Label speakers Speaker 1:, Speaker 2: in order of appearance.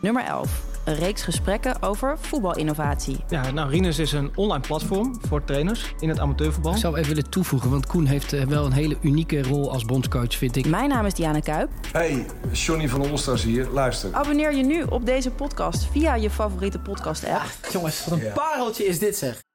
Speaker 1: Nummer 11. Een reeks gesprekken over voetbalinnovatie.
Speaker 2: Ja, nou, Rinus is een online platform voor trainers in het amateurvoetbal.
Speaker 3: Ik zou even willen toevoegen, want Koen heeft eh, wel een hele unieke rol als bondscoach, vind ik.
Speaker 1: Mijn naam is Diana Kuip.
Speaker 4: Hey, Johnny van Olsters hier. Luister.
Speaker 1: Abonneer je nu op deze podcast via je favoriete podcast-app.
Speaker 5: Jongens, wat een pareltje is dit zeg.